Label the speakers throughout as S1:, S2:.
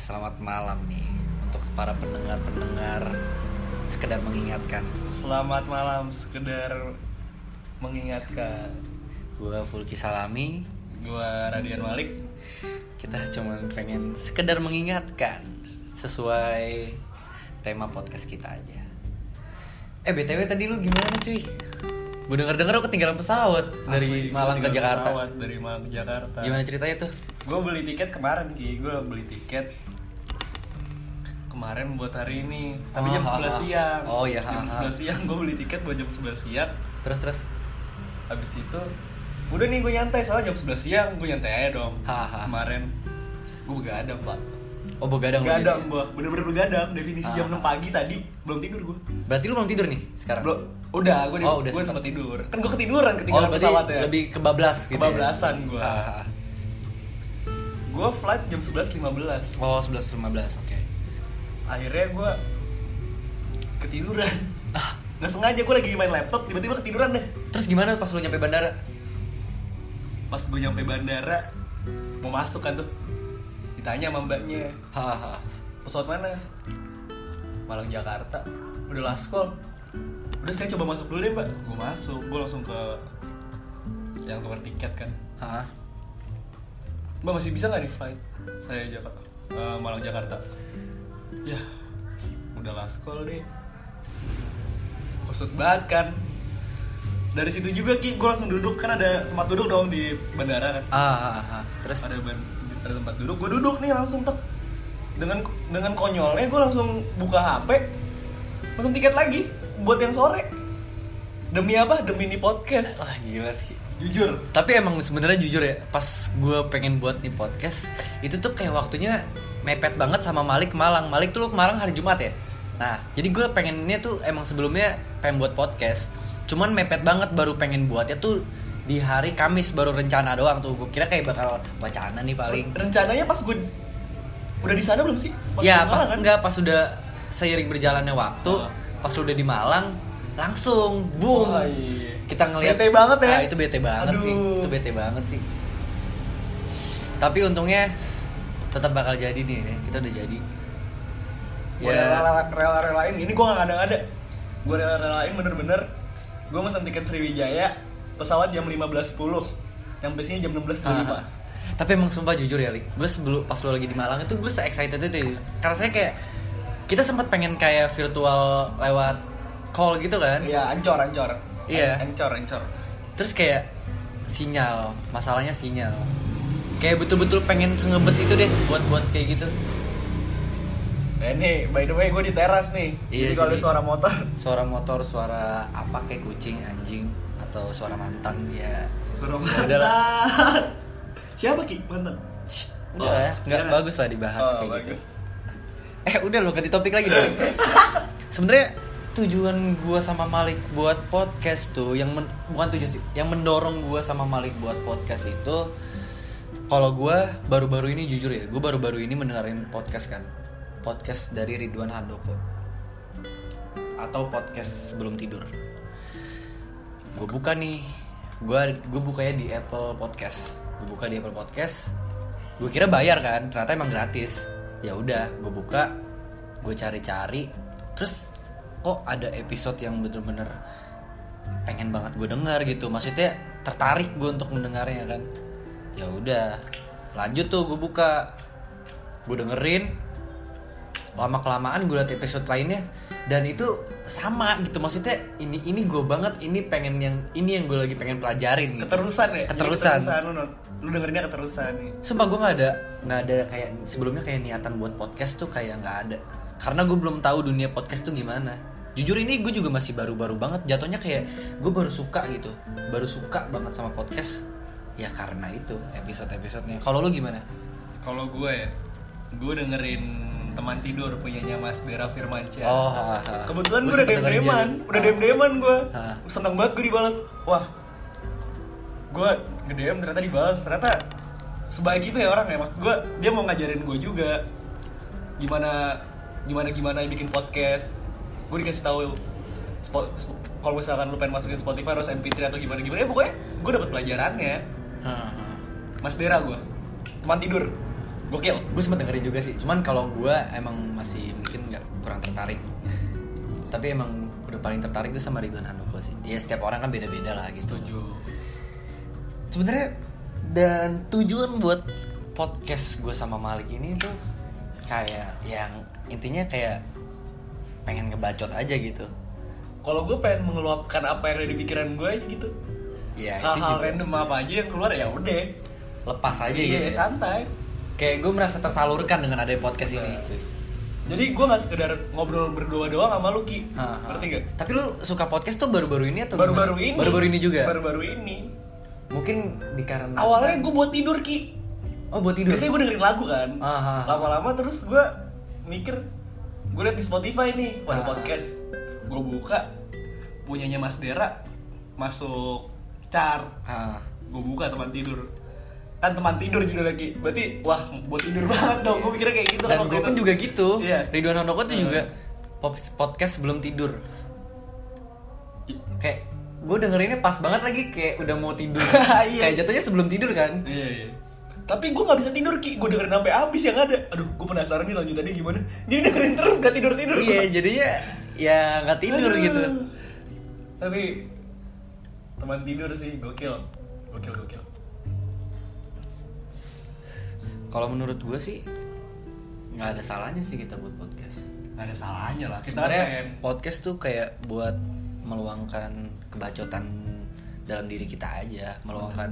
S1: salam nih untuk para pendengar-pendengar sekedar mengingatkan
S2: Selamat malam, sekedar mengingatkan
S1: gua Fulki Salami
S2: Gua Radian Malik
S1: kita cuma pengen sekedar mengingatkan sesuai tema podcast kita aja eh btw tadi lu gimana cuy gue denger denger lu ketinggalan pesawat
S2: Asli,
S1: dari
S2: gua
S1: Malang ke
S2: tinggal
S1: Jakarta
S2: pesawat Dari Malang ke Jakarta
S1: gimana ceritanya tuh
S2: Gue beli tiket kemarin, Ki Gue beli tiket Kemarin buat hari ini Tapi
S1: Oh,
S2: jam
S1: ha,
S2: 11
S1: ha.
S2: siang
S1: Oh, iya, ha,
S2: Jam
S1: ha.
S2: 11 siang, gue beli tiket buat jam 11 siang
S1: terus terus
S2: Habis itu Udah nih gue nyantai, soalnya jam 11 siang gue nyantai aja dong
S1: Ha, ha.
S2: Kemarin Gue begadang, Pak
S1: oh begadang lu
S2: Begadang
S1: jadi.
S2: gue, bener-bener begadang Definisi
S1: Ha,
S2: jam
S1: ha.
S2: 6 pagi tadi, belum tidur gue
S1: berarti lu belum tidur nih sekarang
S2: Belum, udah gue
S1: Oh, udah
S2: gue
S1: sempet.
S2: sempat tidur. Kan gue ketiduran
S1: oh
S2: ketinggalan
S1: berarti
S2: pesawatnya.
S1: lebih kebablas gitu ya?
S2: Kebablasan gua.
S1: Ah, ah, ah.
S2: Gue flight jam 11.15.
S1: oh 11 15 oke
S2: Akhirnya gue ketiduran.
S1: Ah.
S2: Nggak sengaja gue lagi main laptop, tiba-tiba ketiduran deh.
S1: terus gimana pas lu nyampe bandara
S2: Pas gue nyampe bandara, mau masuk kan tuh. Ditanya sama mbaknya,
S1: hahaha
S2: pesawat mana? Malang Jakarta. Udah last call. Udah saya coba masuk dulu deh mbak. Gue masuk, gue langsung ke yang tukar tiket kan.
S1: Hah?
S2: Mbak masih bisa nggak nih flight? Saya Jakarta, eh, Malang Jakarta. Ya, udah last call deh. Kusut banget kan. Dari situ juga ki, gue langsung duduk kan ada tempat duduk dong di bandara kan.
S1: Ah, ah, ah, ah. terus
S2: Ada ban- ada tempat duduk, gue duduk nih langsung tek. Dengan dengan konyolnya gue langsung buka HP, langsung tiket lagi buat yang sore. Demi apa? Demi ini podcast.
S1: wah Ah, gila sih
S2: Jujur,
S1: tapi emang sebenarnya jujur ya pas gue pengen buat nih podcast itu tuh kayak waktunya mepet banget sama Malik ke Malang Malik tuh lu ke Malang hari Jumat ya nah jadi gue pengennya tuh emang sebelumnya pengen buat podcast cuman mepet banget baru pengen buatnya tuh di hari Kamis baru rencana doang tuh gue kira kayak bakal wacana nih paling
S2: rencananya pas gue udah di sana belum sih?
S1: ya
S2: di
S1: pas
S2: Malang, kan?
S1: enggak pas udah seiring berjalannya waktu
S2: Oh.
S1: pas lu udah di Malang langsung boom
S2: Wah, iya.
S1: kita ngelihat
S2: Bete banget ya?
S1: Ah, itu bete banget
S2: Aduh.
S1: sih itu bete banget sih tapi untungnya tetap bakal jadi nih ya. kita udah jadi Ya.
S2: Gue rela rela relain ini gue gak ada ada. Gue rela relain bener-bener. Gue mesen tiket Sriwijaya pesawat jam 15.10. Nyampe sini jam 16.25.
S1: Ah, ah. tapi emang sumpah jujur ya Lik gue sebelum pas lu lagi di Malang itu gue se excited itu karena saya kayak kita sempat pengen kayak virtual lewat call gitu kan
S2: Iya, ancor ancor.
S1: Iya.
S2: An- Ancor ancor.
S1: terus kayak sinyal masalahnya sinyal kayak betul-betul pengen sengebet itu deh buat buat kayak gitu
S2: Nah, ini by the way gue di teras nih.
S1: Iya,
S2: jadi kalau ada
S1: jadi-
S2: suara motor
S1: suara motor suara apa kayak kucing anjing atau suara mantan ya
S2: suara
S1: Udah
S2: motor.
S1: lah.
S2: Siapa Ki? Mantan.
S1: Shh,
S2: Oh,
S1: udah ya nggak
S2: jangan.
S1: bagus lah dibahas
S2: Oh,
S1: kayak
S2: bagus.
S1: gitu eh udah lo ganti topik lagi dong sebenarnya tujuan gua sama Malik buat podcast tuh yang men- bukan tujuan sih yang mendorong gua sama Malik buat podcast itu kalau gua baru-baru ini jujur ya gua baru-baru ini mendengarin podcast kan podcast dari Ridwan Handoko atau podcast sebelum tidur gue buka nih gue gue bukanya di Apple Podcast gue buka di Apple Podcast gue kira bayar kan ternyata emang gratis ya udah gue buka gue cari-cari terus kok ada episode yang bener-bener pengen banget gue dengar gitu maksudnya tertarik gue untuk mendengarnya kan ya udah lanjut tuh gue buka gue dengerin lama kelamaan gue liat episode lainnya dan itu sama gitu maksudnya ini ini gue banget ini pengen yang ini yang gue lagi pengen pelajarin gitu.
S2: Keterusan ya. Jadi
S1: Keterusan.
S2: keterusan lu, non. lu dengerinnya keterusan nih.
S1: Sumpah gue nggak ada nggak ada kayak sebelumnya kayak niatan buat podcast tuh kayak nggak ada karena gue belum tahu dunia podcast tuh gimana. Jujur ini gue juga masih baru-baru banget jatuhnya kayak gue baru suka gitu baru suka banget sama podcast ya karena itu episode-episodenya. Kalau lu gimana?
S2: Kalau gue ya, gue dengerin teman tidur punyanya Mas Dera Firmansyah.
S1: Oh, ha, ha.
S2: Ya. Kebetulan gue
S1: Gua
S2: udah
S1: sempet dengerin
S2: dem-deman,
S1: juga.
S2: udah
S1: Ah.
S2: dem-deman gue
S1: Ah.
S2: Seneng banget gue dibalas Wah, gue nge-DM ternyata dibalas Ternyata sebaik itu ya orang ya Maksud gue, dia mau ngajarin gue juga Gimana, gimana-gimana bikin podcast Gue dikasih tahu Spo- spo- kalau misalkan lu pengen masukin Spotify harus MP3 atau gimana-gimana ya pokoknya gue dapet pelajarannya
S1: Ha, ha.
S2: Mas Dera gue, teman tidur Gokil.
S1: gue sempet dengerin juga sih cuman kalau gue emang masih mungkin nggak kurang tertarik tapi emang udah paling tertarik gue sama Ridwan Handoko sih ya setiap orang kan beda-beda lah gitu sebenarnya dan tujuan buat podcast gue sama Malik ini tuh kayak yang intinya kayak pengen ngebacot aja gitu
S2: Kalau gue pengen mengeluapkan apa yang ada di pikiran gue aja gitu.
S1: ya itu
S2: Hal-hal
S1: juga
S2: random apa aja yang keluar ya udah.
S1: lepas aja
S2: Iya,
S1: gitu ya.
S2: santai.
S1: kayak gue merasa tersalurkan dengan ada podcast ini
S2: Bener.
S1: cuy
S2: Jadi gue gak sekedar ngobrol berdua doang sama lu Ki.
S1: Ha, ha.
S2: Ngerti gak?
S1: Tapi lu suka podcast tuh baru-baru ini atau gimana?
S2: Baru-baru ini.
S1: Baru-baru ini juga.
S2: Baru-baru ini.
S1: Mungkin dikarenakan
S2: Awalnya gue buat tidur Ki.
S1: Oh, buat tidur.
S2: Biasanya gue dengerin lagu kan.
S1: Ah, ah, ah.
S2: Lama-lama terus gue mikir gue liat di Spotify nih,
S1: Ah,
S2: waduh
S1: ah.
S2: podcast. Gue buka punyanya Mas Dera masuk chart.
S1: Ah.
S2: Gue buka teman tidur. Kan teman tidur judul lagi. Berarti wah buat tidur banget dong. Gue mikirnya kayak gitu.
S1: Dan
S2: waktu
S1: gue
S2: itu.
S1: pun juga gitu.
S2: Iya.
S1: Ridwan Handoko tuh
S2: Hmm.
S1: juga pop- podcast sebelum tidur. Kayak gue dengerinnya pas banget lagi kayak udah mau tidur.
S2: Iya.
S1: kayak jatuhnya sebelum tidur kan.
S2: Iya, iya. Tapi gue gak bisa tidur Ki, gue dengerin sampai habis yang ada Aduh, gue penasaran nih lanjutannya gimana Jadi dengerin terus, gak tidur-tidur
S1: iya, jadinya ya nggak tidur
S2: Aduh.
S1: gitu.
S2: Tapi teman tidur sih gokil. Gokil gokil.
S1: Kalau menurut gue sih nggak ada salahnya sih kita buat podcast.
S2: Gak ada salahnya lah. Kita pengen
S1: sebenarnya podcast tuh kayak buat meluangkan kebacotan dalam diri kita aja meluangkan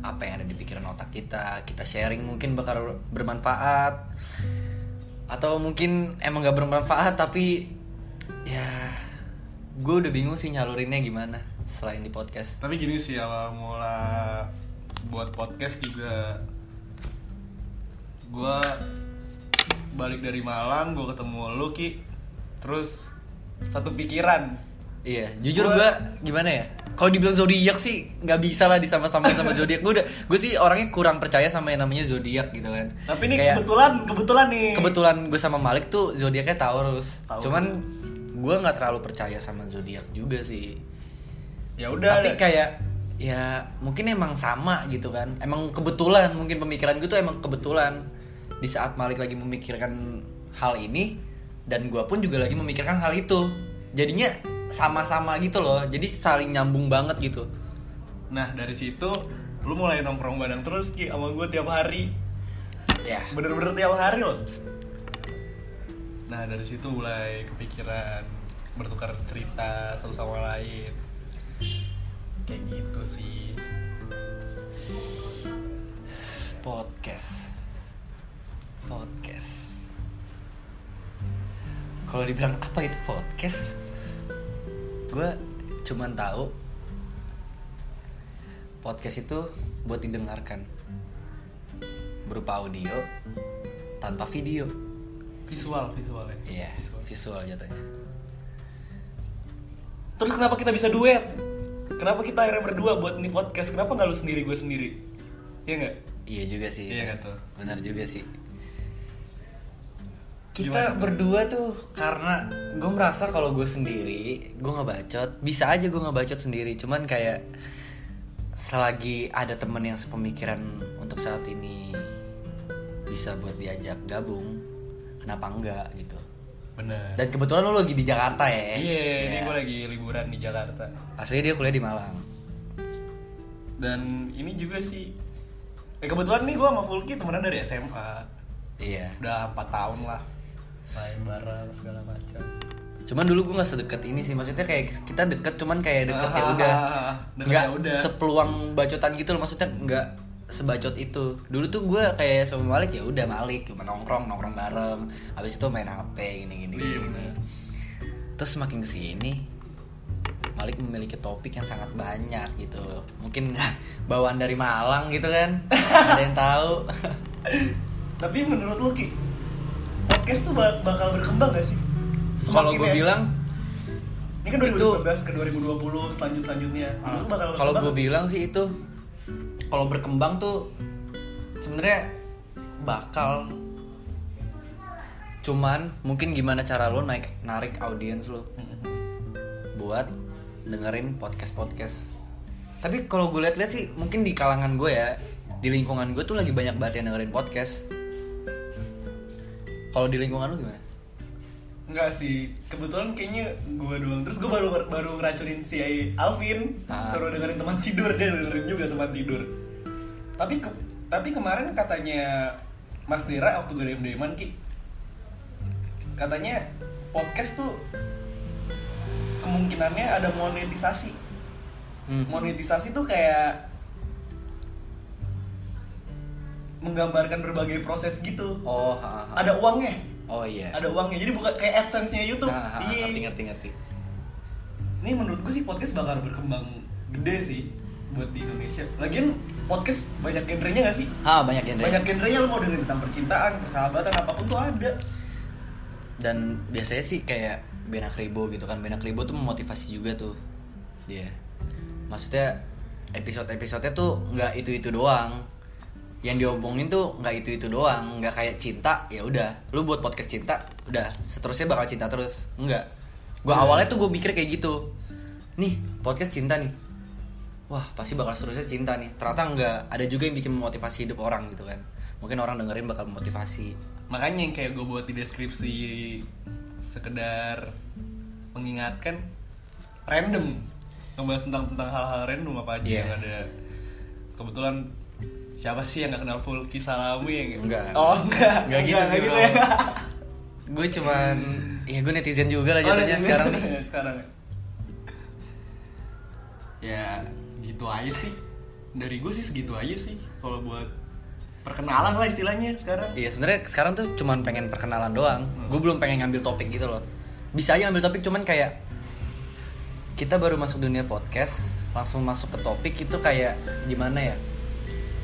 S1: apa yang ada di pikiran otak kita kita sharing mungkin bakal bermanfaat atau mungkin emang gak bermanfaat tapi ya gue udah bingung sih nyalurinnya gimana selain di podcast
S2: Tapi gini sih awal mula buat podcast juga gua balik dari Malang, gua ketemu lu Ki. Terus satu pikiran.
S1: Iya, jujur
S2: Gua-
S1: gue gimana ya? Kalau dibilang zodiak sih nggak bisa lah disama-sama sama zodiak. Gue udah, gue sih orangnya kurang percaya sama yang namanya zodiak gitu kan.
S2: Tapi ini
S1: Kayak-
S2: kebetulan, kebetulan nih.
S1: kebetulan gue sama Malik tuh zodiaknya Taurus.
S2: Taurus.
S1: Cuman gue nggak terlalu percaya sama zodiak juga sih.
S2: Ya udah.
S1: Tapi kayak ya mungkin emang sama gitu kan. Emang kebetulan mungkin pemikiran gue tuh emang kebetulan di saat Malik lagi memikirkan hal ini dan gue pun juga lagi memikirkan hal itu. Jadinya sama-sama gitu loh. Jadi saling nyambung banget gitu.
S2: Nah, dari situ lu mulai nongkrong bareng terus Ki sama gua tiap hari.
S1: Ya.
S2: bener-bener tiap hari loh nah dari situ mulai kepikiran bertukar cerita satu sama lain kayak gitu sih
S1: Podcast. Podcast. Kalau dibilang apa itu podcast? Gue cuman tahu podcast itu buat didengarkan berupa audio tanpa video.
S2: visual ya. visualnya
S1: Iya, visual jatuhnya.
S2: terus kenapa kita bisa duet kenapa kita akhirnya berdua buat nih podcast kenapa nggak lu sendiri gue sendiri Iya nggak
S1: Iya juga sih.
S2: Iya nggak tuh?
S1: Benar juga sih.
S2: Gimana
S1: Kita
S2: tuh?
S1: berdua tuh karena gue merasa kalau gue sendiri, gue ngebacot, bisa aja gue ngebacot sendiri. Cuman kayak selagi ada temen yang sepemikiran untuk saat ini bisa buat diajak gabung, kenapa enggak gitu?
S2: bener
S1: Dan kebetulan lu lagi di Jakarta ya?
S2: iya ini
S1: Ya.
S2: gue lagi liburan di Jakarta
S1: Aslinya dia kuliah di Malang.
S2: dan ini juga sih eh, kebetulan nih gue sama Fulki temenan dari SMA
S1: Iya.
S2: udah 4 tahun lah main bareng segala macam
S1: Cuman dulu gue nggak sedekat ini sih, maksudnya kayak kita deket, cuman kayak deket
S2: Ah,
S1: ya udah.
S2: Deket
S1: nggak
S2: ya udah.
S1: sepeluang bacotan gitu loh maksudnya nggak sebacot itu dulu tuh gue kayak sama Malik ya udah Malik cuma nongkrong nongkrong bareng habis itu main HP gini gini gini,
S2: Iya,
S1: gini.
S2: bener.
S1: terus semakin kesini Malik memiliki topik yang sangat banyak gitu mungkin bawaan dari Malang gitu kan ada yang tahu
S2: Tapi menurut lu Ki, podcast tuh bak- bakal berkembang gak sih? Semakin
S1: kalau gue
S2: ya.
S1: bilang
S2: ini kan 2019 ke 2020 selanjut selanjutnya. Menurut lu bakal
S1: Ah, kalau gue
S2: berkembang?
S1: bilang sih itu kalau berkembang tuh sebenarnya bakal cuman mungkin gimana cara lo naik narik audiens lo buat dengerin podcast podcast tapi kalau gue liat-liat sih mungkin di kalangan gue ya di lingkungan gue tuh lagi banyak banget yang dengerin podcast Kalau di lingkungan lu gimana?
S2: Enggak sih, kebetulan kayaknya gua doang. Terus gua baru baru ngeracunin si Alvin,
S1: Ah.
S2: suruh dengerin teman tidur dia dengerin juga teman tidur. Tapi ke- tapi kemarin katanya Mas Dera waktu gue DM-an ki, katanya podcast tuh kemungkinannya ada monetisasi.
S1: Hmm.
S2: Monetisasi tuh kayak menggambarkan berbagai proses gitu.
S1: Oh, ha, ha, ha.
S2: Ada uangnya
S1: Oh iya.
S2: ada uangnya jadi bukan kayak adsense-nya YouTube
S1: Nah, ha, ha,
S2: Iya.
S1: ngerti ngerti ngerti.
S2: ini menurut gue sih podcast bakal berkembang gede sih buat di Indonesia lagian podcast banyak genrenya gak sih
S1: Ah, banyak genre.
S2: banyak genrenya lo mau dengerin tentang percintaan persahabatan apapun tuh ada
S1: Dan biasanya sih kayak Benak Ribo gitu kan. Benak Ribo tuh memotivasi juga tuh. Dia. Maksudnya episode-episodenya tuh nggak itu-itu doang. Yang diomongin tuh nggak itu-itu doang, nggak kayak cinta, ya udah. Lu buat podcast cinta, udah. Seterusnya bakal cinta terus. Enggak. Gua awalnya tuh gue mikir kayak gitu. Nih, podcast cinta nih. Wah, pasti bakal seterusnya cinta nih. Ternyata enggak. Ada juga yang bikin memotivasi hidup orang gitu kan. Mungkin orang dengerin bakal memotivasi.
S2: makanya yang kayak gue buat di deskripsi sekedar mengingatkan random ngebahas tentang tentang hal-hal random apa aja
S1: Iya.
S2: yang ada kebetulan siapa sih yang gak kenal Fulki Salami ya nggak?
S1: Enggak.
S2: oh enggak
S1: Enggak gitu sih,
S2: enggak
S1: Bro.
S2: ya.
S1: gue cuman ya gue netizen juga lah
S2: Oh,
S1: jatuhnya
S2: udah,
S1: sekarang
S2: udah,
S1: nih
S2: udah, sekarang ya. ya gitu aja sih dari gue sih segitu aja sih kalau buat perkenalan lah istilahnya sekarang
S1: iya sebenarnya sekarang tuh cuman pengen perkenalan doang gue belum pengen ngambil topik gitu loh bisa aja ngambil topik cuman kayak kita baru masuk dunia podcast langsung masuk ke topik itu kayak gimana ya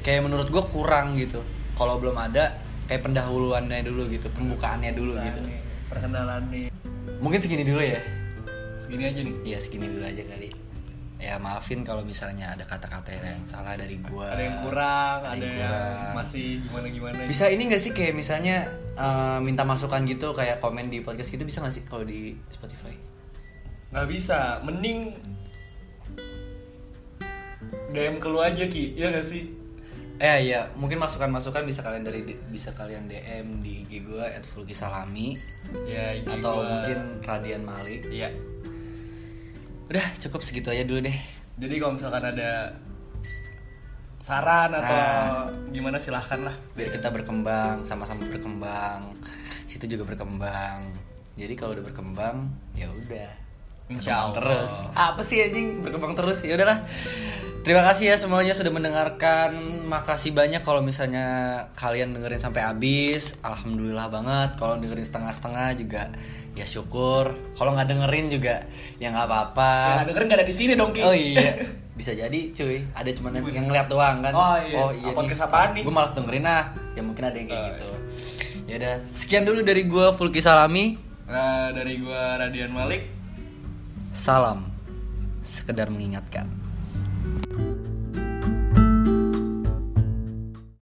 S1: kayak menurut gue kurang gitu kalau belum ada kayak pendahuluannya dulu gitu pembukaannya dulu gitu
S2: Nih, Nah, perkenalan nih
S1: mungkin segini dulu ya
S2: segini aja nih
S1: iya segini dulu aja kali ya maafin kalau misalnya ada kata-kata yang salah dari gue
S2: ada yang kurang ada,
S1: yang
S2: yang,
S1: kurang.
S2: masih gimana gimana
S1: Bisa ini gak sih kayak misalnya eh, minta masukan gitu kayak komen di podcast gitu bisa gak sih kalau di Spotify?
S2: nggak bisa mending DM ke lu aja ki ya gak sih
S1: Eh iya, mungkin masukan-masukan bisa kalian dari bisa kalian DM di IG gua @fulkisalami
S2: ya IG
S1: atau
S2: gua.
S1: mungkin Radian Malik.
S2: Iya.
S1: Udah, cukup segitu aja dulu deh.
S2: Jadi kalau misalkan ada saran atau
S1: Nah.
S2: gimana silahkan lah.
S1: Biar kita berkembang, sama-sama berkembang. Situ juga berkembang. Jadi kalau udah berkembang, ya udah. Berkembang
S2: Insya Allah.
S1: terus. Apa sih anjing berkembang terus? Ya udahlah. Terima kasih ya semuanya sudah mendengarkan. Makasih banyak kalau misalnya kalian dengerin sampai habis. Alhamdulillah banget. Kalau dengerin setengah-setengah juga ya syukur. Kalau nggak dengerin juga ya nggak apa-apa.
S2: Yang nggak denger nggak ada di sini dong ki.
S1: Oh iya. Bisa jadi cuy, ada cuman yang, yang ngeliat doang kan.
S2: Oh, iya. Ah, podcast apaan nih?
S1: Gue malas dengerin ah. Ya mungkin ada yang kayak gitu. Ya udah, sekian dulu dari gua Fulki Salami.
S2: Nah, dari gua Eh, Radian Malik.
S1: Salam. Sekedar mengingatkan.